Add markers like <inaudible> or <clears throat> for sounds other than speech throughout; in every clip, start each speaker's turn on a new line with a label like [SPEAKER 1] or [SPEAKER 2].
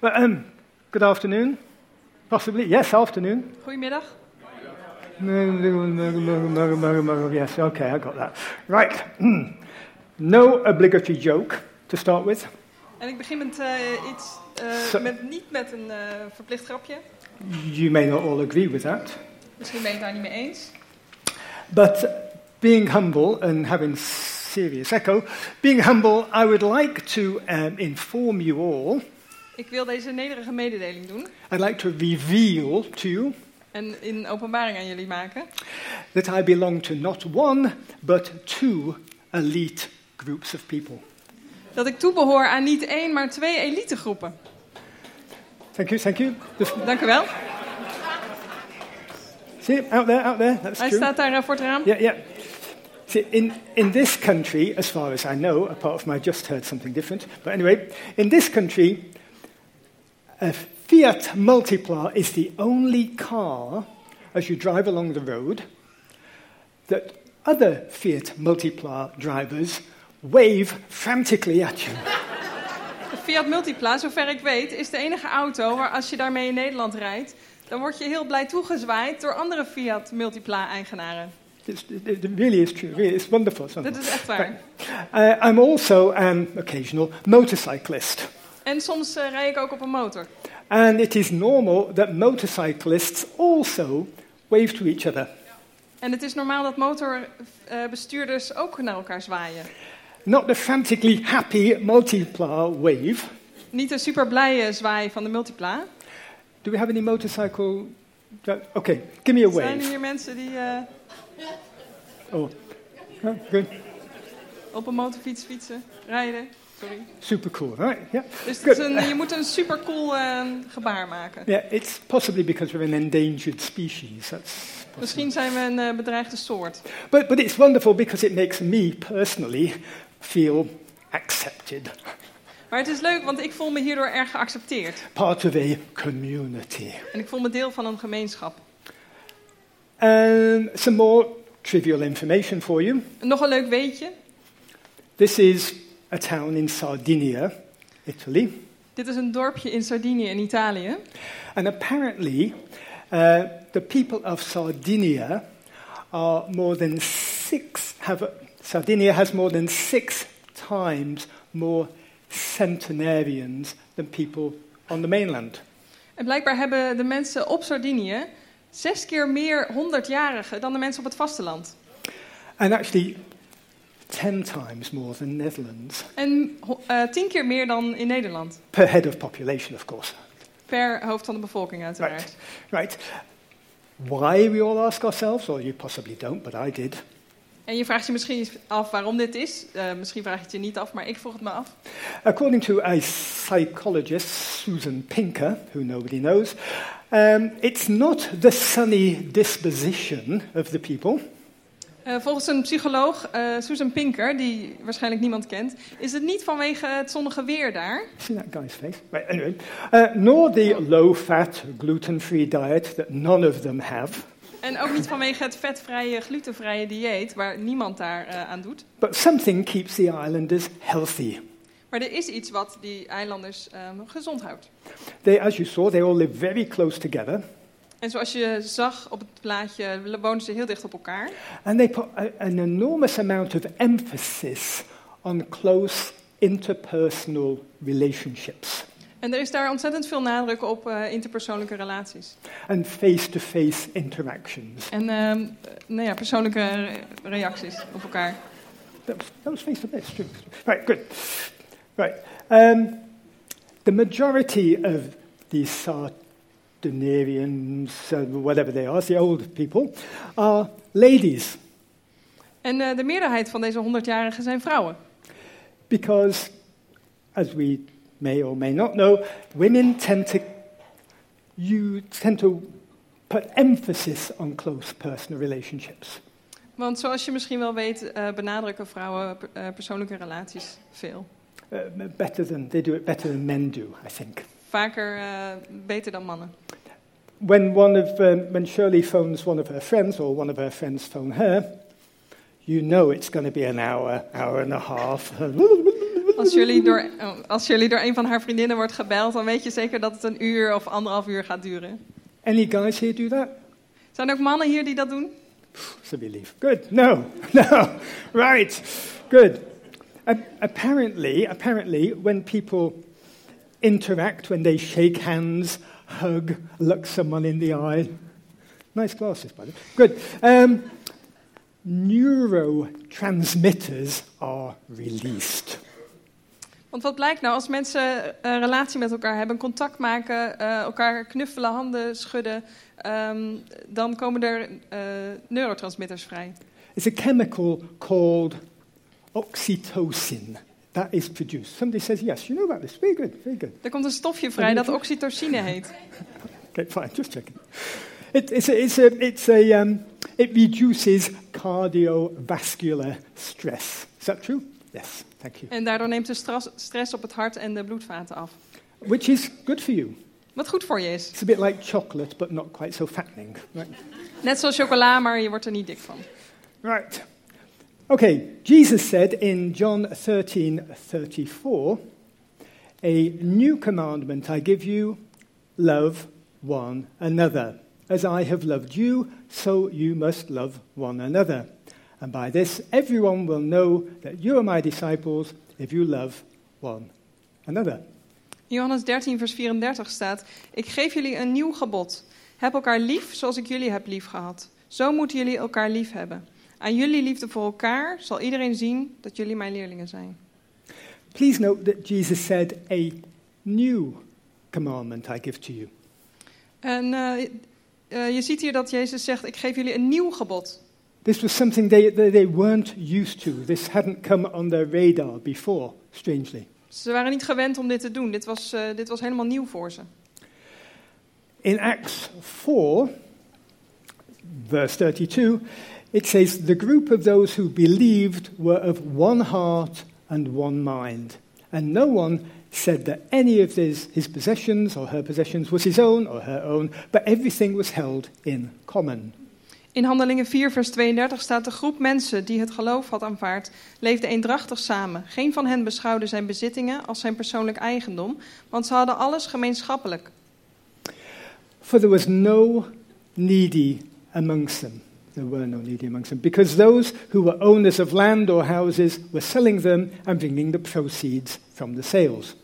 [SPEAKER 1] Ahem. Good afternoon. Possibly, yes, afternoon.
[SPEAKER 2] Goedemiddag.
[SPEAKER 1] Yes, okay, I got that. Right. <clears throat> No obligatory joke to start with.
[SPEAKER 2] En ik begin met eh, iets, eh,
[SPEAKER 1] Zo.
[SPEAKER 2] met, niet met een eh, verplicht grapje.
[SPEAKER 1] You may not all agree with that.
[SPEAKER 2] Misschien ben je het daar niet mee eens.
[SPEAKER 1] But being humble and having serious echo, being humble, I would like to um, inform you all,
[SPEAKER 2] Ik wil deze nederige mededeling doen
[SPEAKER 1] I'd like to reveal to you
[SPEAKER 2] en in openbaring aan jullie maken.
[SPEAKER 1] that I belong to not one, but two elite groups of people.
[SPEAKER 2] Dat ik toebehoor aan niet één, maar twee elitegroepen.
[SPEAKER 1] Thank you, thank you. Just-
[SPEAKER 2] Dank u wel.
[SPEAKER 1] see, out there, out there, that's
[SPEAKER 2] Hij
[SPEAKER 1] true.
[SPEAKER 2] staat daar eh, voor het raam.
[SPEAKER 1] Yeah, yeah. See, in, in this country, as far as I know, apart from I just heard something different, but anyway, in this country, a Fiat Multipla is the only car, as you drive along the road, that other Fiat Multipla drivers wave frantically at you.
[SPEAKER 2] De Fiat Multipla, zover ik weet, is de enige auto waar als je daarmee in Nederland rijdt, dan word je heel blij toegezwaaid door andere Fiat Multipla-eigenaren.
[SPEAKER 1] It's, it, it really is true. Really, it's wonderful. It's
[SPEAKER 2] Dat
[SPEAKER 1] wonderful.
[SPEAKER 2] is echt waar.
[SPEAKER 1] Uh, I'm also an occasional motorcyclist.
[SPEAKER 2] En soms eh, rij ik ook op een motor.
[SPEAKER 1] And it is normal that motorcyclists also wave to each other.
[SPEAKER 2] En het is normaal dat motorbestuurders ook naar elkaar zwaaien.
[SPEAKER 1] Not the frantically happy multiplar wave.
[SPEAKER 2] Niet een super blije zwaai van de multipla.
[SPEAKER 1] Do we have any motorcycle? dri- Okay, give me a
[SPEAKER 2] Zijn er
[SPEAKER 1] wave.
[SPEAKER 2] hier mensen die eh,
[SPEAKER 1] Oh, huh, good.
[SPEAKER 2] op een motorfiets fietsen, rijden? Sorry.
[SPEAKER 1] Super cool, right? Yeah.
[SPEAKER 2] Dus het
[SPEAKER 1] Good.
[SPEAKER 2] is een, je moet een super cool gebaar maken.
[SPEAKER 1] Yeah, it's possibly because we're an endangered species. That's
[SPEAKER 2] Misschien zijn we een eh, bedreigde soort.
[SPEAKER 1] but, but it's wonderful because it makes me personally feel accepted,
[SPEAKER 2] Maar het is leuk, want ik voel me hierdoor erg geaccepteerd.
[SPEAKER 1] part of a community.
[SPEAKER 2] En ik voel me deel van een gemeenschap.
[SPEAKER 1] Um, some more trivial information for you.
[SPEAKER 2] Nog een leuk weetje.
[SPEAKER 1] This is a town in Sardinia, Italy,
[SPEAKER 2] Dit is een dorpje in Sardinië in Italië.
[SPEAKER 1] and apparently uh, the people of Sardinia are more than six have Sardinia has more than six times more centenarians than people on the mainland.
[SPEAKER 2] En blijkbaar hebben de mensen op Sardinië zes keer meer 100-jarigen dan de mensen op het vasteland.
[SPEAKER 1] And actually 10 times more than Netherlands
[SPEAKER 2] En ho- eh, tien keer meer dan in Nederland.
[SPEAKER 1] per head of population of course.
[SPEAKER 2] Per hoofd van de bevolking, uiteraard.
[SPEAKER 1] Right. Why we all ask ourselves or you possibly don't but I did.
[SPEAKER 2] En je vraagt je misschien af waarom dit is. Eh, misschien vraag je het je niet af, maar ik vroeg het me af.
[SPEAKER 1] According to a psychologist, Susan Pinker, who nobody knows, um, it's not the sunny disposition of the people,
[SPEAKER 2] Eh, volgens een psycholoog, eh, Susan Pinker, die waarschijnlijk niemand kent, is het niet vanwege het zonnige weer daar.
[SPEAKER 1] see that guy's face, right, anyway, uh, nor the low fat, gluten free diet that none of them have,
[SPEAKER 2] En ook niet vanwege het vetvrije, glutenvrije dieet, waar niemand daar eh, aan doet.
[SPEAKER 1] but something keeps the islanders healthy.
[SPEAKER 2] Maar er is iets wat die eilanders ehm, gezond houdt.
[SPEAKER 1] They, as you saw, they all live very close together,
[SPEAKER 2] En zoals je zag op het plaatje, wonen ze heel dicht op elkaar.
[SPEAKER 1] and they put a, an enormous amount of emphasis on close interpersonal relationships.
[SPEAKER 2] En er is daar ontzettend veel nadruk op eh, interpersoonlijke relaties.
[SPEAKER 1] and face to face interactions.
[SPEAKER 2] En ehm, eh, nou ja, persoonlijke re- reacties op elkaar.
[SPEAKER 1] That was, that was face to face, true. Right, good. Right. Um, the majority of the Sardinarians, uh, whatever they are, the old people, are ladies
[SPEAKER 2] En eh, de meerderheid van deze 100-jarigen zijn vrouwen.
[SPEAKER 1] because, as we may or may not know, women tend to you tend to put emphasis on close personal relationships.
[SPEAKER 2] Want zoals je misschien wel weet, eh, benadrukken vrouwen per- eh, persoonlijke relaties veel.
[SPEAKER 1] Uh, better than they do it better than men do, I think.
[SPEAKER 2] Vaker eh, beter dan mannen.
[SPEAKER 1] when one of um, when Shirley phones one of her friends or one of her friends phone her, you know it's going to be an hour, hour and a half.
[SPEAKER 2] Als jullie, door, oh, als jullie door een van haar vriendinnen wordt gebeld, dan weet je zeker dat het een uur of anderhalf uur gaat duren.
[SPEAKER 1] <laughs> Any guys here do that?
[SPEAKER 2] Zijn er ook mannen hier die dat doen?
[SPEAKER 1] It's a belief. Good. No. <laughs> No. Right. Good. A- apparently, apparently, when people interact, when they shake hands, hug, look someone in the eye. Nice glasses, by the way. Good. Um, neurotransmitters are released.
[SPEAKER 2] Want wat blijkt nou als mensen een relatie met elkaar hebben, contact maken, eh, elkaar knuffelen, handen schudden, ehm, dan komen er eh, neurotransmitters vrij.
[SPEAKER 1] It's a chemical called oxytocin that is produced. Somebody says, yes, you know about this. Very good, very good.
[SPEAKER 2] Er komt een stofje vrij dat oxytocine heet.
[SPEAKER 1] Okay, fine, just checking. It, it's a, it's a, it's a, um, it reduces cardiovascular stress. Is that true? Yes, thank you.
[SPEAKER 2] En daardoor neemt de stras- stress op het hart en de bloedvaten af.
[SPEAKER 1] Which is good for you.
[SPEAKER 2] Wat goed voor je is.
[SPEAKER 1] It's a bit like chocolate, but not quite so fattening. Right.
[SPEAKER 2] Net zoals chocola, maar je wordt er niet dik van.
[SPEAKER 1] right. Okay, Jesus said in John 13 34, A new commandment I give you love one another. As I have loved you, so you must love one another. And by this, everyone will know that you are my disciples if you love one another.
[SPEAKER 2] Johannes 13, vers 34 staat: Ik geef jullie een nieuw gebod. Heb elkaar lief zoals ik jullie heb lief gehad. Zo moeten jullie elkaar lief hebben. Aan jullie liefde voor elkaar zal iedereen zien dat jullie mijn leerlingen zijn.
[SPEAKER 1] Please note that Jesus said, A new commandment I give to you.
[SPEAKER 2] En eh, eh, je ziet hier dat Jezus zegt: Ik geef jullie een nieuw gebod.
[SPEAKER 1] This was something they, they, they weren't used to. This hadn't come on their radar before, strangely.
[SPEAKER 2] Ze waren niet gewend om dit te doen. Dit was, eh, dit was helemaal nieuw voor ze.
[SPEAKER 1] In Acts 4, verse 32, it says, The group of those who believed were of one heart and one mind. And no one said that any of his, his possessions or her possessions was his own or her own, but everything was held in common.
[SPEAKER 2] In Handelingen 4, vers 32 staat: De groep mensen die het geloof had aanvaard, leefde eendrachtig samen. Geen van hen beschouwde zijn bezittingen als zijn persoonlijk eigendom, want ze hadden alles gemeenschappelijk.
[SPEAKER 1] For there was no needy amongst them. There were no needy amongst them, because those who were owners of land or houses were selling them and bringing the proceeds from the sales.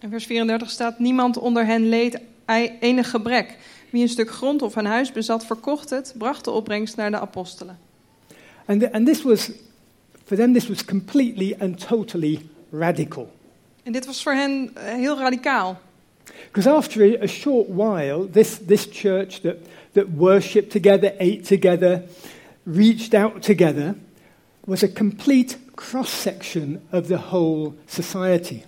[SPEAKER 2] In vers 34 staat: Niemand onder hen leed ei- enig gebrek. Wie een stuk grond of een huis bezat, verkocht het, bracht de opbrengst naar de apostelen.
[SPEAKER 1] And, th- and this was, for them, this was completely and totally radical.
[SPEAKER 2] En dit was voor hen eh, heel radicaal.
[SPEAKER 1] Because after a, a short while, this, this church that, that worshipped together, ate together, reached out together, was a complete cross section of the whole society.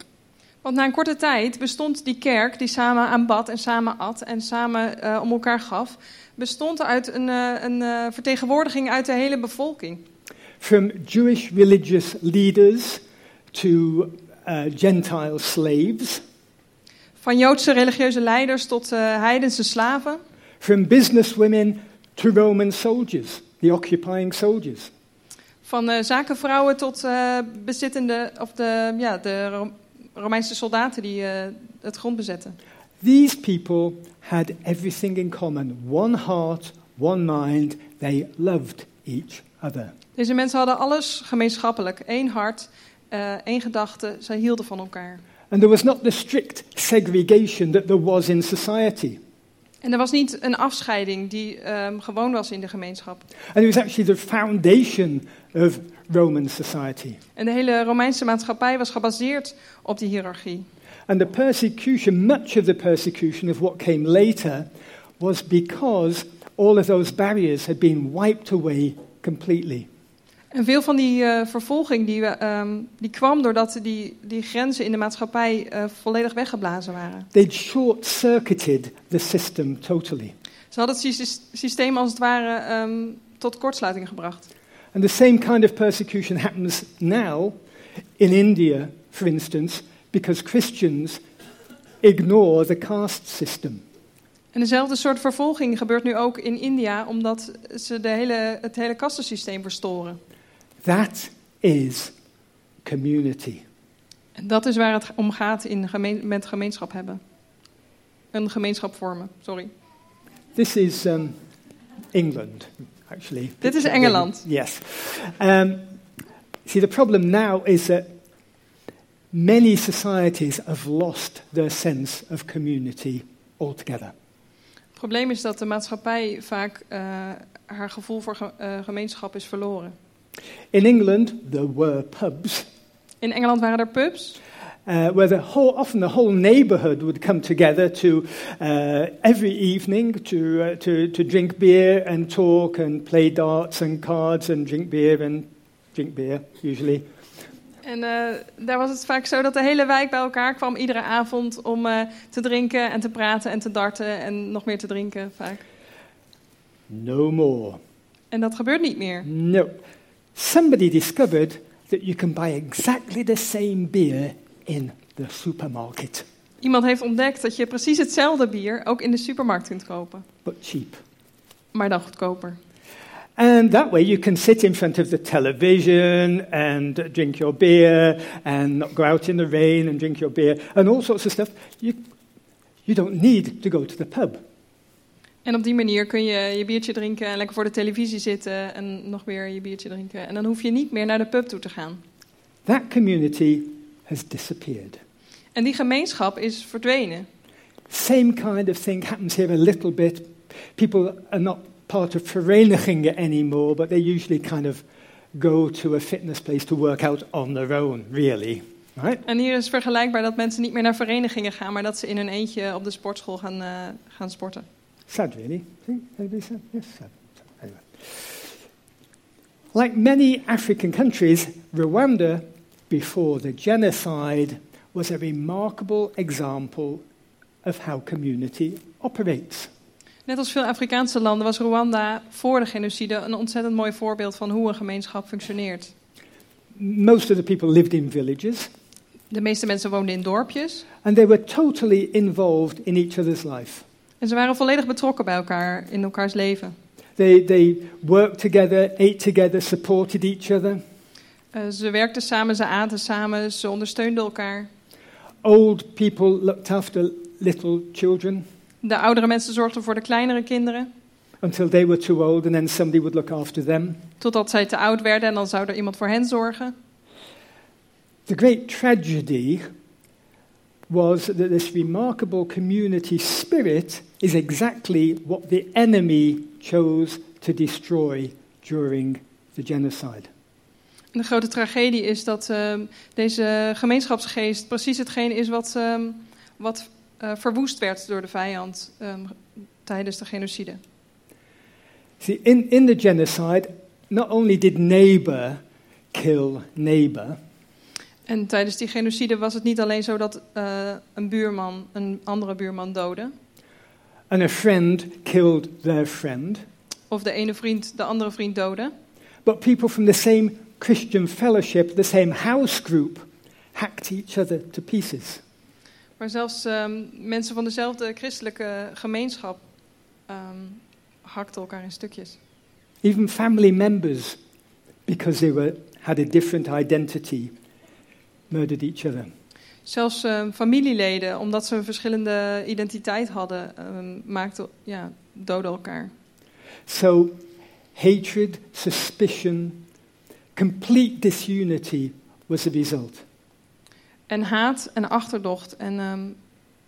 [SPEAKER 2] Want na een korte tijd bestond die kerk die samen aanbad en samen at en samen eh, om elkaar gaf, bestond uit een, eh, een eh, vertegenwoordiging uit de hele bevolking.
[SPEAKER 1] from Jewish religious leaders to uh, Gentile slaves,
[SPEAKER 2] Van Joodse religieuze leiders tot eh, heidense slaven,
[SPEAKER 1] from businesswomen to Roman soldiers, the occupying soldiers.
[SPEAKER 2] van eh, zakenvrouwen tot eh, bezittende of de, ja, de Ro- Romeinse soldaten die eh, het grond bezetten.
[SPEAKER 1] These people had everything in common one heart, one mind. They loved each other.
[SPEAKER 2] Deze mensen hadden alles gemeenschappelijk, één hart, eh, één gedachte, zij hielden van elkaar.
[SPEAKER 1] And there was not the strict segregation that there was in society.
[SPEAKER 2] En er was niet een afscheiding die ehm, gewoon was in de gemeenschap.
[SPEAKER 1] And it was actually the foundation of Roman society.
[SPEAKER 2] En de hele Romeinse maatschappij was gebaseerd op die hiërarchie.
[SPEAKER 1] And the persecution, much of the persecution of what came later, was because all of those barriers had been wiped away completely.
[SPEAKER 2] En veel van die eh, vervolging die, we, ehm, die kwam doordat die, die grenzen in de maatschappij eh, volledig weggeblazen waren.
[SPEAKER 1] They'd short circuited the system totally.
[SPEAKER 2] Ze hadden het sys- systeem als het ware ehm, tot kortsluiting gebracht.
[SPEAKER 1] And the same kind of persecution happens now in India, for instance, because Christians ignore the caste system.
[SPEAKER 2] En dezelfde soort vervolging gebeurt nu ook in India, omdat ze de hele, het hele kastensysteem verstoren.
[SPEAKER 1] That is community.
[SPEAKER 2] En dat is waar het om gaat in gemeen, met gemeenschap hebben. Een gemeenschap vormen, sorry.
[SPEAKER 1] This is um, England, actually.
[SPEAKER 2] Dit is Engeland.
[SPEAKER 1] Yes. Um, see, the problem now is that many societies have lost their sense of community altogether.
[SPEAKER 2] Het probleem is dat de maatschappij vaak eh, haar gevoel voor ge- eh, gemeenschap is verloren.
[SPEAKER 1] In England, there were pubs
[SPEAKER 2] In Engeland waren er pubs.
[SPEAKER 1] uh, where the whole, often the whole neighborhood would come together to uh, every evening to, uh, to, to drink beer and talk and play darts and cards and drink beer and drink beer, usually.
[SPEAKER 2] En eh, daar was het vaak zo dat de hele wijk bij elkaar kwam iedere avond om eh, te drinken en te praten en te darten en nog meer te drinken vaak.
[SPEAKER 1] No more.
[SPEAKER 2] En dat gebeurt niet meer.
[SPEAKER 1] No. Somebody discovered that you can buy exactly the same beer in the supermarket,
[SPEAKER 2] Iemand heeft ontdekt dat je precies hetzelfde bier ook in de supermarkt kunt kopen,
[SPEAKER 1] but cheap.
[SPEAKER 2] maar dan goedkoper.
[SPEAKER 1] And that way you can sit in front of the television and drink your beer and not go out in the rain and drink your beer and all sorts of stuff. You, you don't need to go to the pub.
[SPEAKER 2] En op die manier kun je je biertje drinken en lekker voor de televisie zitten en nog weer je biertje drinken. En dan hoef je niet meer naar de pub toe te gaan.
[SPEAKER 1] That community has disappeared.
[SPEAKER 2] En die gemeenschap is verdwenen.
[SPEAKER 1] Same kind of thing happens here a little bit. People are not part of Verenigingen anymore, but they usually kind of go to a fitness place to work out on their own, really. Right?
[SPEAKER 2] En hier is vergelijkbaar dat mensen niet meer naar verenigingen gaan, maar dat ze in hun eentje op de sportschool gaan, eh, gaan sporten.
[SPEAKER 1] Sad, really. Think anybody sad? Yes, sad. sad. Anyway. Like many African countries, Rwanda, before the genocide, was a remarkable example of how community operates.
[SPEAKER 2] Net als veel Afrikaanse landen was Rwanda voor de genocide een ontzettend mooi voorbeeld van hoe een gemeenschap functioneert.
[SPEAKER 1] Most of the people lived in villages,
[SPEAKER 2] De meeste mensen woonden in dorpjes
[SPEAKER 1] and they were totally involved in each other's life.
[SPEAKER 2] en ze waren volledig betrokken bij elkaar in elkaars leven.
[SPEAKER 1] They, they worked together, ate together, supported each other.
[SPEAKER 2] Eh, ze werkten samen, ze aten samen, ze ondersteunden elkaar.
[SPEAKER 1] Old people looked after little children
[SPEAKER 2] De oudere mensen zorgden voor de kleinere kinderen,
[SPEAKER 1] until they were too old, and then somebody would look after them.
[SPEAKER 2] totdat zij te oud werden en dan zou er iemand voor hen zorgen.
[SPEAKER 1] The great tragedy was that this remarkable community spirit is exactly what the enemy chose to destroy during the genocide.
[SPEAKER 2] De grote tragedie is dat ehm, deze gemeenschapsgeest precies hetgeen is wat, ehm, wat eh, verwoest werd door de vijand ehm, tijdens de genocide.
[SPEAKER 1] See, in, in the genocide, not only did neighbor kill neighbor,
[SPEAKER 2] En tijdens die genocide was het niet alleen zo dat eh, een buurman een andere buurman doodde,
[SPEAKER 1] and a friend killed their friend,
[SPEAKER 2] of de ene vriend de andere vriend doodde,
[SPEAKER 1] but people from the same Christian fellowship, the same house group, hacked each other to pieces.
[SPEAKER 2] maar zelfs ehm, mensen van dezelfde christelijke gemeenschap ehm, hakten elkaar in stukjes.
[SPEAKER 1] even family members, because they were, had a different identity, murdered each other.
[SPEAKER 2] Zelfs ehm, familieleden, omdat ze een verschillende identiteit hadden, ehm, maakten, ja, doden elkaar.
[SPEAKER 1] So, hatred, suspicion, complete disunity was the result.
[SPEAKER 2] En haat en achterdocht en ehm,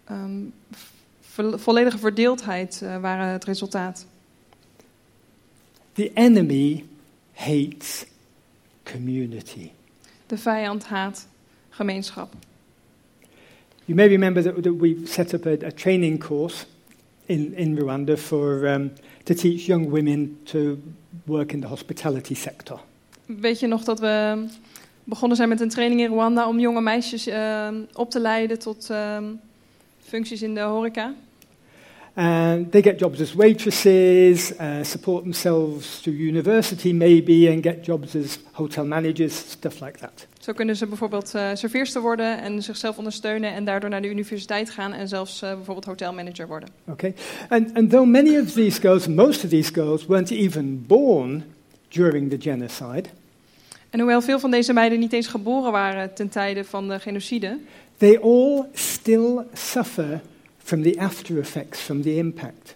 [SPEAKER 2] ehm, vo- volledige verdeeldheid eh, waren het resultaat.
[SPEAKER 1] The enemy hates community.
[SPEAKER 2] De vijand haat gemeenschap.
[SPEAKER 1] You may remember that, that we set up a, a training course in, in Rwanda for, um, to teach young women to work in the hospitality sector.
[SPEAKER 2] Weet je nog dat we begonnen zijn met een training in Rwanda om jonge meisjes ehm, op te leiden tot ehm, functies in de horeca?
[SPEAKER 1] And they get jobs as waitresses, uh, support themselves through university maybe, and get jobs as hotel managers, stuff like that.
[SPEAKER 2] Zo kunnen ze bijvoorbeeld eh serveerster worden en zichzelf ondersteunen en daardoor naar de universiteit gaan en zelfs eh, bijvoorbeeld hotelmanager worden.
[SPEAKER 1] Okay? And, and though many of these girls, most of these girls, weren't even born during the genocide,
[SPEAKER 2] En hoewel veel van deze meiden niet eens geboren waren ten tijde van de genocide,
[SPEAKER 1] They all still suffer from the after effects, from the impact.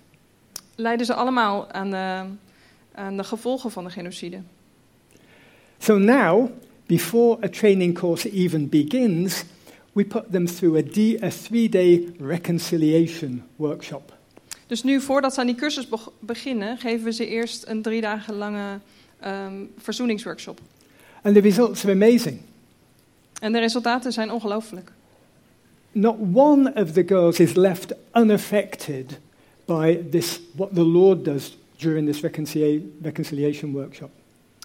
[SPEAKER 2] leiden ze allemaal aan de, aan de gevolgen van de genocide.
[SPEAKER 1] So now, before a training course even begins, we put them through a, D, a three day reconciliation workshop.
[SPEAKER 2] Dus nu, voordat ze aan die cursus beg- beginnen, geven we ze eerst een drie dagen lange ehm, verzoeningsworkshop.
[SPEAKER 1] And the results are amazing.
[SPEAKER 2] En de resultaten zijn ongelooflijk.
[SPEAKER 1] Not one of the girls is left unaffected by this, what the Lord does during this reconcilia- reconciliation workshop.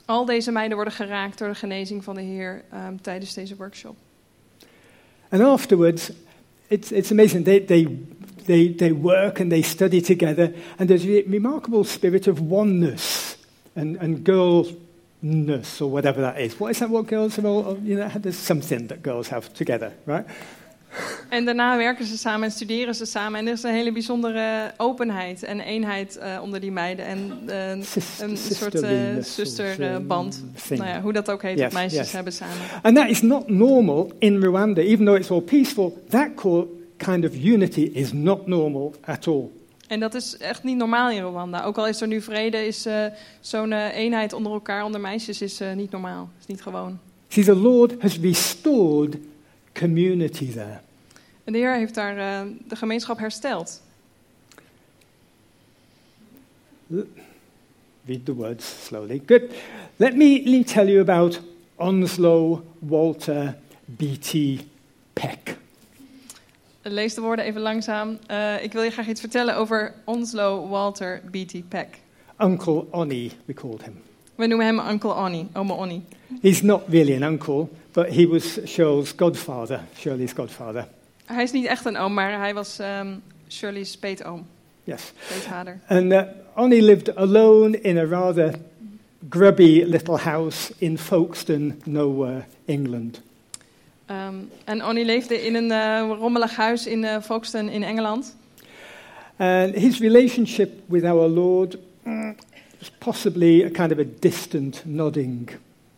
[SPEAKER 2] Al deze meiden worden geraakt door de genezing van de Heer ehm, tijdens deze workshop.
[SPEAKER 1] And afterwards, it's, it's amazing. They, they, they, they work and they study together, and there's a remarkable spirit of oneness and, and girlness, or whatever that is. What is that what girls have all, all- you know, there's something that girls have together, right?
[SPEAKER 2] En daarna werken ze samen en studeren ze samen. En er is een hele bijzondere openheid en eenheid eh, onder die meiden. En eh,
[SPEAKER 1] Sis-
[SPEAKER 2] een soort eh,
[SPEAKER 1] sisterliness or
[SPEAKER 2] uh, zusterband.
[SPEAKER 1] some eh, thing.
[SPEAKER 2] nou ja, hoe dat ook heet,
[SPEAKER 1] Yes,
[SPEAKER 2] dat meisjes
[SPEAKER 1] yes.
[SPEAKER 2] hebben samen.
[SPEAKER 1] And that is not normal in Rwanda, even though it's all peaceful. That co- kind of unity is not normal at all.
[SPEAKER 2] En dat is echt niet normaal in Rwanda. Ook al is er nu vrede, is eh, zo'n eh, eenheid onder elkaar, onder meisjes, is eh, niet normaal. Is niet gewoon.
[SPEAKER 1] See, the Lord has restored community there.
[SPEAKER 2] En de Heer heeft daar eh, de gemeenschap hersteld.
[SPEAKER 1] Read the words slowly. Good. Let me, let me tell you about Onslow Walter B.T. Peck.
[SPEAKER 2] Lees de woorden even langzaam. Eh, ik wil je graag iets vertellen over Onslow Walter B.T. Peck.
[SPEAKER 1] Uncle Onnie, we called him.
[SPEAKER 2] We noemen hem Uncle Onnie, oma Onnie.
[SPEAKER 1] He's not really an uncle, but he was Shirley's godfather, Shirley's godfather.
[SPEAKER 2] Hij is niet echt een oom, maar hij was ehm, Shirley's speetoom,
[SPEAKER 1] Yes.
[SPEAKER 2] speetvader.
[SPEAKER 1] And uh, Onnie lived alone in a rather grubby little house in Folkestone, nowhere, England.
[SPEAKER 2] Ehm, en Onnie leefde in een eh, rommelig huis in eh Folkestone in Engeland.
[SPEAKER 1] And his relationship with our Lord mm, was possibly a kind of a distant, nodding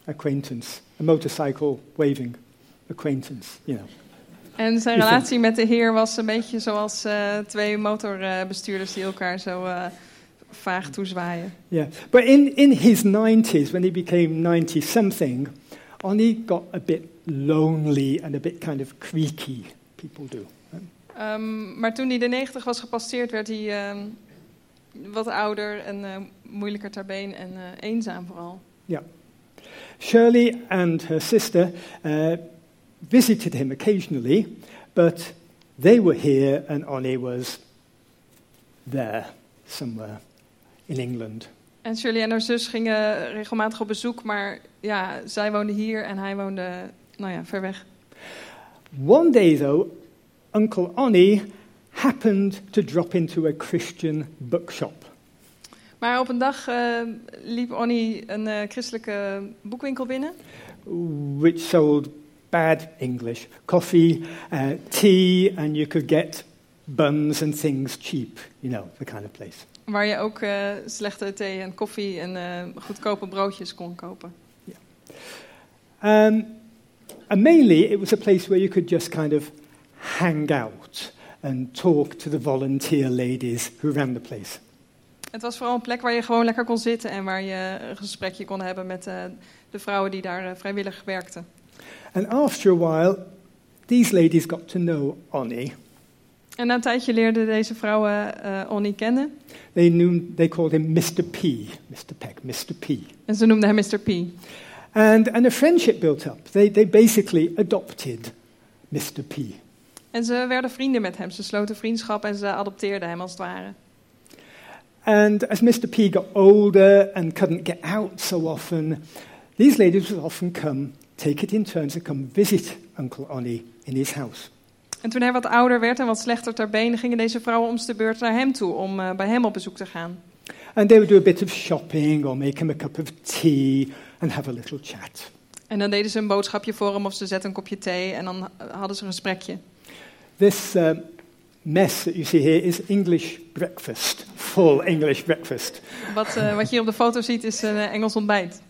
[SPEAKER 1] acquaintance, a motorcycle waving acquaintance, you know.
[SPEAKER 2] En zijn
[SPEAKER 1] Is dat-
[SPEAKER 2] relatie met de heer was een beetje zoals eh, twee motorbestuurders die elkaar zo eh, vaag toezwaaien.
[SPEAKER 1] Yeah. But in, in his 90s, when he became 90 something, Oni got a bit lonely and a bit kind of creaky. People do.
[SPEAKER 2] Ehm, maar toen hij de 90 was gepasseerd, werd hij ehm, wat ouder en eh, moeilijker ter been en eh, eenzaam vooral.
[SPEAKER 1] Shirley and her sister uh, visited him occasionally, but they were here and Ollie was there somewhere in England.
[SPEAKER 2] En Shirley en haar zus gingen regelmatig op bezoek, maar ja, zij woonde hier en hij woonde, nou ja, ver weg.
[SPEAKER 1] One day, though, Uncle Ollie happened to drop into a Christian bookshop.
[SPEAKER 2] Maar op een dag eh, liep Onnie een eh, christelijke boekwinkel binnen.
[SPEAKER 1] which sold bad English coffee, uh, tea, and you could get buns and things cheap, you know, the kind of place.
[SPEAKER 2] Waar je ook eh, slechte thee en koffie en eh, goedkope broodjes kon kopen.
[SPEAKER 1] Um, and mainly it was a place where you could just kind of hang out and talk to the volunteer ladies who ran the place.
[SPEAKER 2] Het was vooral een plek waar je gewoon lekker kon zitten en waar je een gesprekje kon hebben met eh, de vrouwen die daar eh, vrijwillig werkten.
[SPEAKER 1] And after a while, these ladies got to know Oni.
[SPEAKER 2] En na een tijdje leerden deze vrouwen eh Onnie kennen
[SPEAKER 1] They, knew, they called him Mr. P, Mr. Peck, Mr. P.
[SPEAKER 2] en ze noemden hem Mr. P.
[SPEAKER 1] And, and a friendship built up. They, they basically adopted Mr. P.
[SPEAKER 2] En ze werden vrienden met hem. Ze sloten vriendschap en ze adopteerden hem als het ware.
[SPEAKER 1] And as Mr. P got older and couldn't get out so often, these ladies would often come, take it in turns, and come visit Uncle Ollie in his house.
[SPEAKER 2] En toen hij wat ouder werd en wat slechter ter been, gingen deze vrouwen om de beurt naar hem toe om eh, bij hem op bezoek te gaan.
[SPEAKER 1] And they would do a bit of shopping or make him a cup of tea and have a little chat.
[SPEAKER 2] En dan deden ze een boodschapje voor hem of ze zetten een kopje thee en dan eh, hadden ze een gesprekje.
[SPEAKER 1] This um, mess that you see here is English breakfast, full English breakfast.
[SPEAKER 2] Wat, eh, wat je hier op de foto ziet is een eh, Engels ontbijt.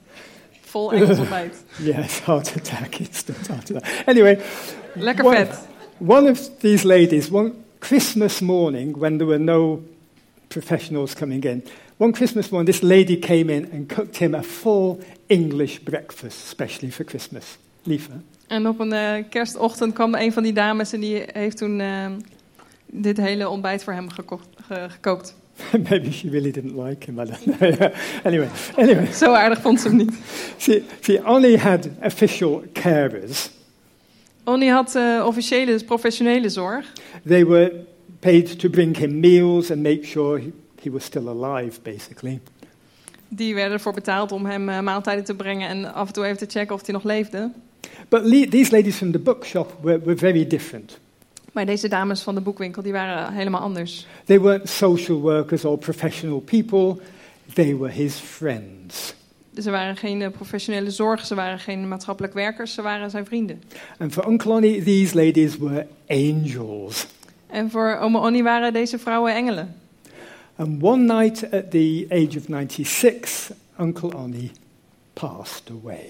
[SPEAKER 2] vol Engels ontbijt.
[SPEAKER 1] Yeah, it's <laughs> heart attack. It's not heart attack. Anyway,
[SPEAKER 2] Lekker
[SPEAKER 1] one,
[SPEAKER 2] vet.
[SPEAKER 1] one of these ladies, one Christmas morning when there were no professionals coming in, one Christmas morning this lady came in and cooked him a full English breakfast, especially for Christmas. Liever.
[SPEAKER 2] En op een eh, kerstochtend kwam een van die dames en die heeft toen eh, dit hele ontbijt voor hem gekocht, ge- gekookt.
[SPEAKER 1] <laughs> Maybe she really didn't like him. I don't know. <laughs> anyway, anyway,
[SPEAKER 2] Zo aardig vond ze hem niet.
[SPEAKER 1] she, she only had official carers.
[SPEAKER 2] Onnie had eh, officiële, dus professionele zorg.
[SPEAKER 1] They were paid to bring him meals and make sure he, he was still alive, basically.
[SPEAKER 2] Die werden ervoor betaald om hem eh, maaltijden te brengen en af en toe even te checken of hij nog leefde.
[SPEAKER 1] But le- these ladies from the bookshop were, were very different.
[SPEAKER 2] Maar deze dames van de boekwinkel die waren helemaal anders.
[SPEAKER 1] They weren't social workers or professional people, they were his friends.
[SPEAKER 2] Ze waren geen eh, professionele zorg, ze waren geen maatschappelijk werkers, ze waren zijn vrienden.
[SPEAKER 1] And for Uncle Lonnie, these ladies were angels.
[SPEAKER 2] En voor oma Onnie waren deze vrouwen engelen.
[SPEAKER 1] And one night at the age of 96, Uncle Lonnie passed away.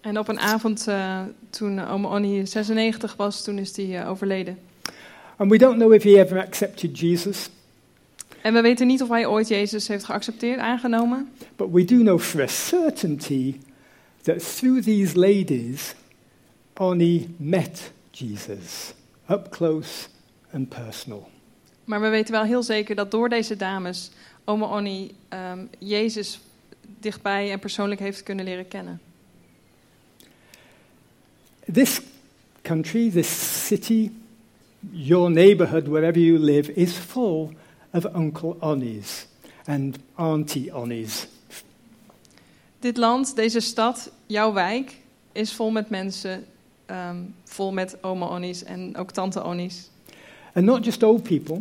[SPEAKER 2] En op een avond eh, toen oma Onnie 96 was, toen is hij overleden.
[SPEAKER 1] And we don't know if he ever accepted Jesus,
[SPEAKER 2] En we weten niet of hij ooit Jezus heeft geaccepteerd, aangenomen.
[SPEAKER 1] but we do know for a certainty that through these ladies, Oni met Jesus up close and personal.
[SPEAKER 2] Maar we weten wel heel zeker dat door deze dames oma Onnie ehm, Jezus dichtbij en persoonlijk heeft kunnen leren kennen.
[SPEAKER 1] This country, this city, your neighborhood, wherever you live, is full of Uncle Onis and Auntie Onis.
[SPEAKER 2] Dit land, deze stad, jouw wijk, is vol met mensen, ehm, vol met oma Onnies en ook tante Onnies.
[SPEAKER 1] And not just old people,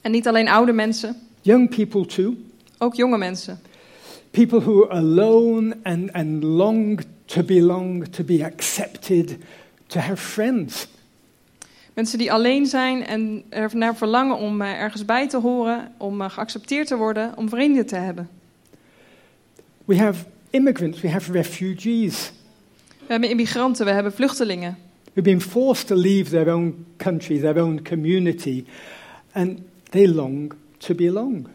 [SPEAKER 2] En niet alleen oude mensen,
[SPEAKER 1] young people too,
[SPEAKER 2] ook jonge mensen.
[SPEAKER 1] people who are alone and, and long to belong, to be accepted, to have friends.
[SPEAKER 2] Mensen die alleen zijn en er naar verlangen om eh, ergens bij te horen, om eh, geaccepteerd te worden, om vrienden te hebben.
[SPEAKER 1] We have immigrants, we have refugees
[SPEAKER 2] We hebben immigranten, we hebben vluchtelingen.
[SPEAKER 1] who've been forced to leave their own country, their own community, and they long to belong.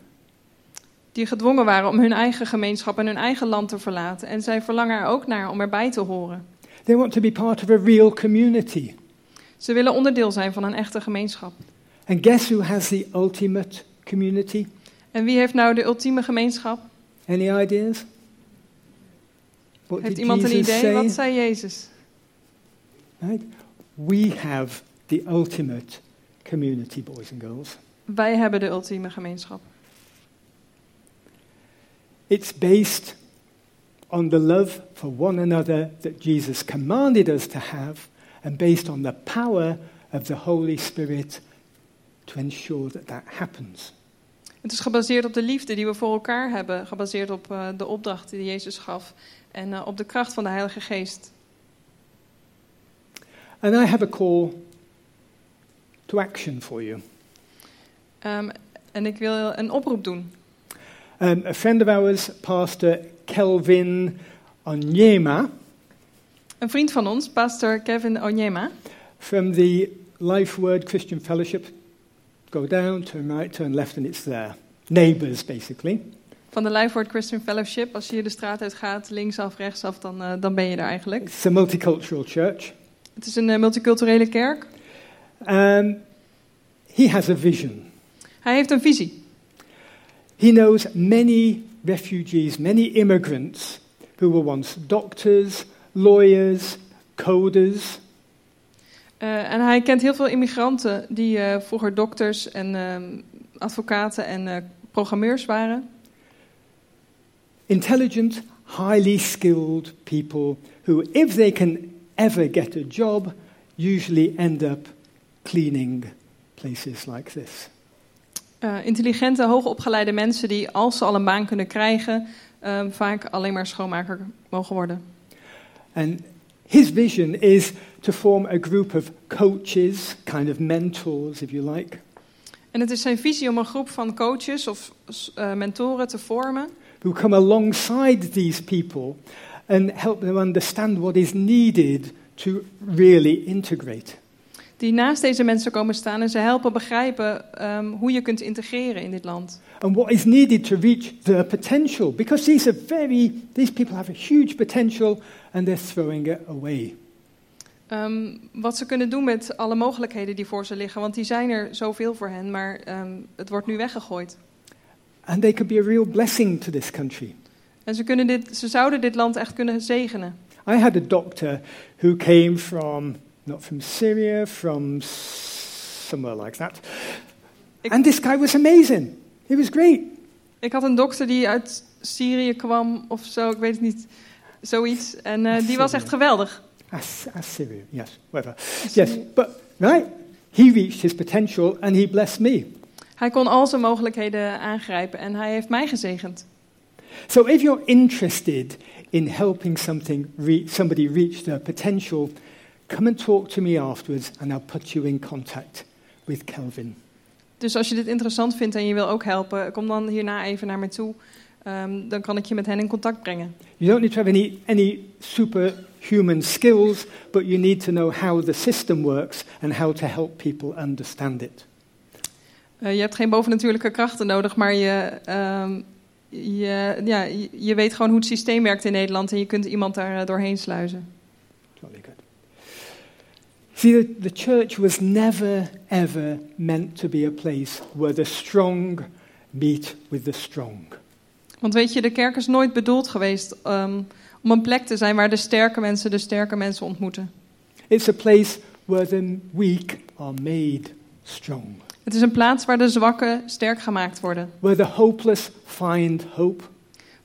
[SPEAKER 2] Die gedwongen waren om hun eigen gemeenschap en hun eigen land te verlaten. En zij verlangen er ook naar om erbij te horen.
[SPEAKER 1] They want to be part of a real community.
[SPEAKER 2] Ze willen onderdeel zijn van een echte gemeenschap.
[SPEAKER 1] And guess who has the ultimate community?
[SPEAKER 2] En wie heeft nou de ultieme gemeenschap?
[SPEAKER 1] Any ideas? What
[SPEAKER 2] Heeft
[SPEAKER 1] did
[SPEAKER 2] iemand een
[SPEAKER 1] Jesus
[SPEAKER 2] idee?
[SPEAKER 1] say?
[SPEAKER 2] Wat zei Jezus?
[SPEAKER 1] Right? We have the ultimate community, boys and girls.
[SPEAKER 2] Wij hebben de ultieme gemeenschap.
[SPEAKER 1] It's based on the love for one another that Jesus commanded us to have and based on the power of the Holy Spirit to ensure that that happens.
[SPEAKER 2] Het is gebaseerd op de liefde die we voor elkaar hebben. Gebaseerd op eh, de opdracht die Jezus gaf. En eh, op de kracht van de Heilige Geest.
[SPEAKER 1] And I have a call to action for you.
[SPEAKER 2] Ehm, en ik wil een oproep doen.
[SPEAKER 1] Um, a friend of ours, Pastor Kelvin Onyema
[SPEAKER 2] Een vriend van ons, pastor Kevin Onyema,
[SPEAKER 1] from the Life Word Christian Fellowship, go down, turn right, turn left, and it's there. Neighbours, basically.
[SPEAKER 2] van de Lifeword Christian Fellowship. Als je hier de straat uit gaat, linksaf, rechtsaf, dan, eh, dan ben je er eigenlijk.
[SPEAKER 1] It's a multicultural church.
[SPEAKER 2] Het is een eh, multiculturele kerk.
[SPEAKER 1] Um, he has a vision.
[SPEAKER 2] Hij heeft een visie.
[SPEAKER 1] He knows many refugees, many immigrants who were once doctors, lawyers, coders,
[SPEAKER 2] Eh, en hij kent heel veel immigranten die eh, vroeger dokters en ehm, advocaten en eh, programmeurs waren.
[SPEAKER 1] intelligent, highly skilled people who, if they can ever get a job, usually end up cleaning places like this.
[SPEAKER 2] Eh, intelligente, hoogopgeleide mensen die, als ze al een baan kunnen krijgen, ehm, vaak alleen maar schoonmaker mogen worden.
[SPEAKER 1] And his vision is to form a group of coaches, kind of mentors, if you like,
[SPEAKER 2] En het is zijn visie om een groep van coaches of s- eh, mentoren te vormen.
[SPEAKER 1] who come alongside these people and help them understand what is needed to really integrate.
[SPEAKER 2] die naast deze mensen komen staan en ze helpen begrijpen ehm, hoe je kunt integreren in dit land.
[SPEAKER 1] and what is needed to reach their potential because these are very these people have a huge potential and they're throwing it away
[SPEAKER 2] Ehm, wat ze kunnen doen met alle mogelijkheden die voor ze liggen, want die zijn er zoveel voor hen, maar ehm, het wordt nu weggegooid.
[SPEAKER 1] and they could be a real blessing to this country
[SPEAKER 2] En ze, kunnen dit, ze zouden dit land echt kunnen zegenen.
[SPEAKER 1] i had a doctor who came from not from syria from s- somewhere like that
[SPEAKER 2] Ik-
[SPEAKER 1] and this guy was amazing he was great
[SPEAKER 2] Ik had een dokter die uit Syrië kwam of zo, ik weet het niet, zoiets. En eh, die was echt geweldig.
[SPEAKER 1] As- assyria yes whatever yes but right he reached his potential and he blessed me
[SPEAKER 2] Hij kon al zijn mogelijkheden aangrijpen en hij heeft mij gezegend.
[SPEAKER 1] So if you're interested in helping something re- somebody reach their potential, come and talk to me afterwards and I'll put you in contact with Kelvin.
[SPEAKER 2] Dus als je dit interessant vindt en je wil ook helpen, kom dan hierna even naar me toe. Ehm, dan kan ik je met hen in contact brengen.
[SPEAKER 1] You don't need to have any, any superhuman skills, but you need to know how the system works and how to help people understand it.
[SPEAKER 2] Eh, je hebt geen bovennatuurlijke krachten nodig, maar je, ehm, je, ja, je- je weet gewoon hoe het systeem werkt in Nederland en je kunt iemand daar eh, doorheen sluizen.
[SPEAKER 1] Jolly good. See, the, the church was never, ever meant to be a place where the strong meet with the strong.
[SPEAKER 2] Want weet je, de kerk is nooit bedoeld geweest ehm, om een plek te zijn waar de sterke mensen de sterke mensen ontmoeten.
[SPEAKER 1] It's a place where the weak are made strong,
[SPEAKER 2] Het is een plaats waar de zwakken sterk gemaakt worden.
[SPEAKER 1] where the hopeless find hope,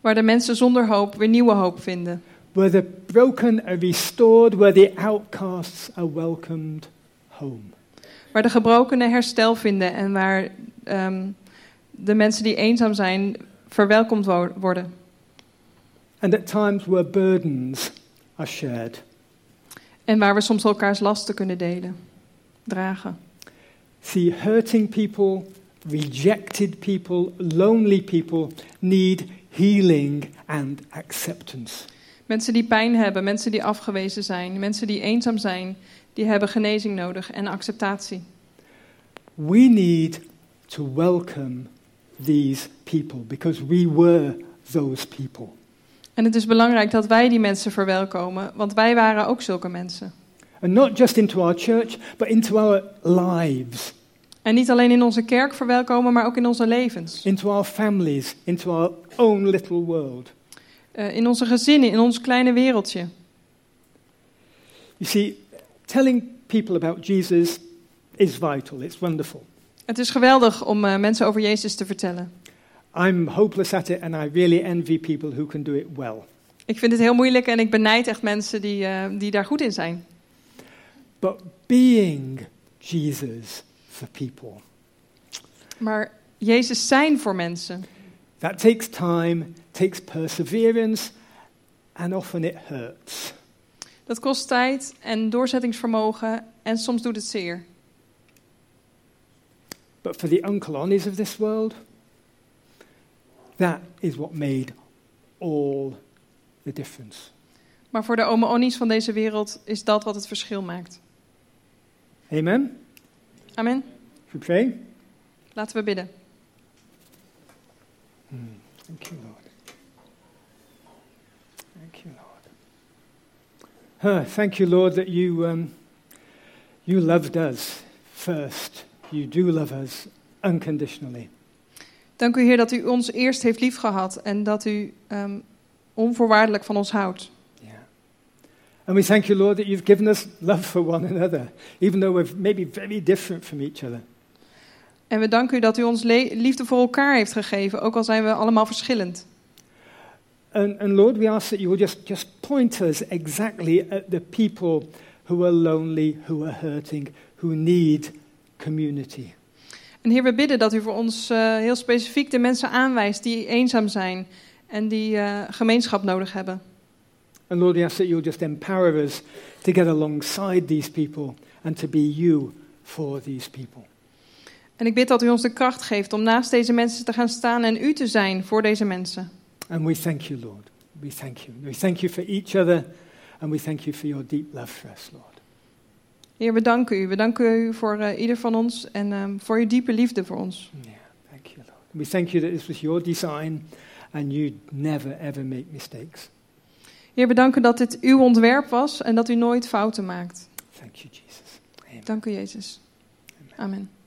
[SPEAKER 2] Waar de mensen zonder hoop weer nieuwe hoop vinden.
[SPEAKER 1] where the broken are restored, where the outcasts are welcomed home.
[SPEAKER 2] Waar de gebrokenen herstel vinden en waar ehm, de mensen die eenzaam zijn verwelkomd wo- worden.
[SPEAKER 1] And at times where burdens are shared.
[SPEAKER 2] En waar we soms elkaars lasten kunnen delen, dragen.
[SPEAKER 1] See, hurting people, rejected people, lonely people need healing and acceptance.
[SPEAKER 2] Mensen die pijn hebben, mensen die afgewezen zijn, mensen die eenzaam zijn, die hebben genezing nodig en acceptatie.
[SPEAKER 1] We need to welcome these people because we were those people.
[SPEAKER 2] En het is belangrijk dat wij die mensen verwelkomen, want wij waren ook zulke mensen.
[SPEAKER 1] And not just into our church, but into our lives,
[SPEAKER 2] En niet alleen in onze kerk verwelkomen, maar ook in onze levens.
[SPEAKER 1] into our families, into our own little world.
[SPEAKER 2] Eh, in onze gezinnen, in ons kleine wereldje.
[SPEAKER 1] You see, telling people about Jesus is vital, it's wonderful.
[SPEAKER 2] Het is geweldig om eh, mensen over Jezus te vertellen.
[SPEAKER 1] I'm hopeless at it, and I really envy people who can do it well.
[SPEAKER 2] Ik vind het heel moeilijk en ik benijd echt mensen die, eh, die daar goed in zijn.
[SPEAKER 1] But being Jesus for people,
[SPEAKER 2] Maar Jezus zijn voor mensen.
[SPEAKER 1] that takes time, takes perseverance, and often it hurts.
[SPEAKER 2] Dat kost tijd en doorzettingsvermogen en soms doet het zeer.
[SPEAKER 1] But for the uncolonies of this world, that is what made all the difference.
[SPEAKER 2] Maar voor de ome Onnies van deze wereld is dat wat het verschil maakt.
[SPEAKER 1] Amen?
[SPEAKER 2] Amen.
[SPEAKER 1] Should we pray?
[SPEAKER 2] Laten we bidden.
[SPEAKER 1] Thank you, Lord. Thank you, Lord. Huh, thank you, Lord, that you, um, you loved us first. You do love us unconditionally.
[SPEAKER 2] Dank u Heer dat u ons eerst heeft liefgehad en dat u ehm, onvoorwaardelijk van ons houdt.
[SPEAKER 1] Yeah. And we thank you, Lord, that you've given us love for one another, even though we're maybe very different from each other.
[SPEAKER 2] En we danken u dat u ons le- liefde voor elkaar heeft gegeven, ook al zijn we allemaal verschillend.
[SPEAKER 1] And, and Lord, we ask that you will just, just point us exactly at the people who are lonely, who are hurting, who need community.
[SPEAKER 2] En Heer, we bidden dat u voor ons eh, heel specifiek de mensen aanwijst die eenzaam zijn en die eh, gemeenschap nodig hebben.
[SPEAKER 1] And Lord, we ask that you'll just empower us to get alongside these people and to be you for these people.
[SPEAKER 2] En ik bid dat u ons de kracht geeft om naast deze mensen te gaan staan en u te zijn voor deze mensen.
[SPEAKER 1] And we thank you, Lord. we thank you. We thank you for each other, and we thank you for your deep love for us, Lord.
[SPEAKER 2] Heer, we danken u. We danken u voor eh, ieder van ons en ehm, voor uw diepe liefde voor ons.
[SPEAKER 1] Yeah, thank you, Lord. We thank you that this was your design, and you never, ever make mistakes.
[SPEAKER 2] Heer, we danken dat dit uw ontwerp was en dat u nooit fouten maakt.
[SPEAKER 1] Thank you, Jesus. Amen.
[SPEAKER 2] Dank u, Jezus. Amen.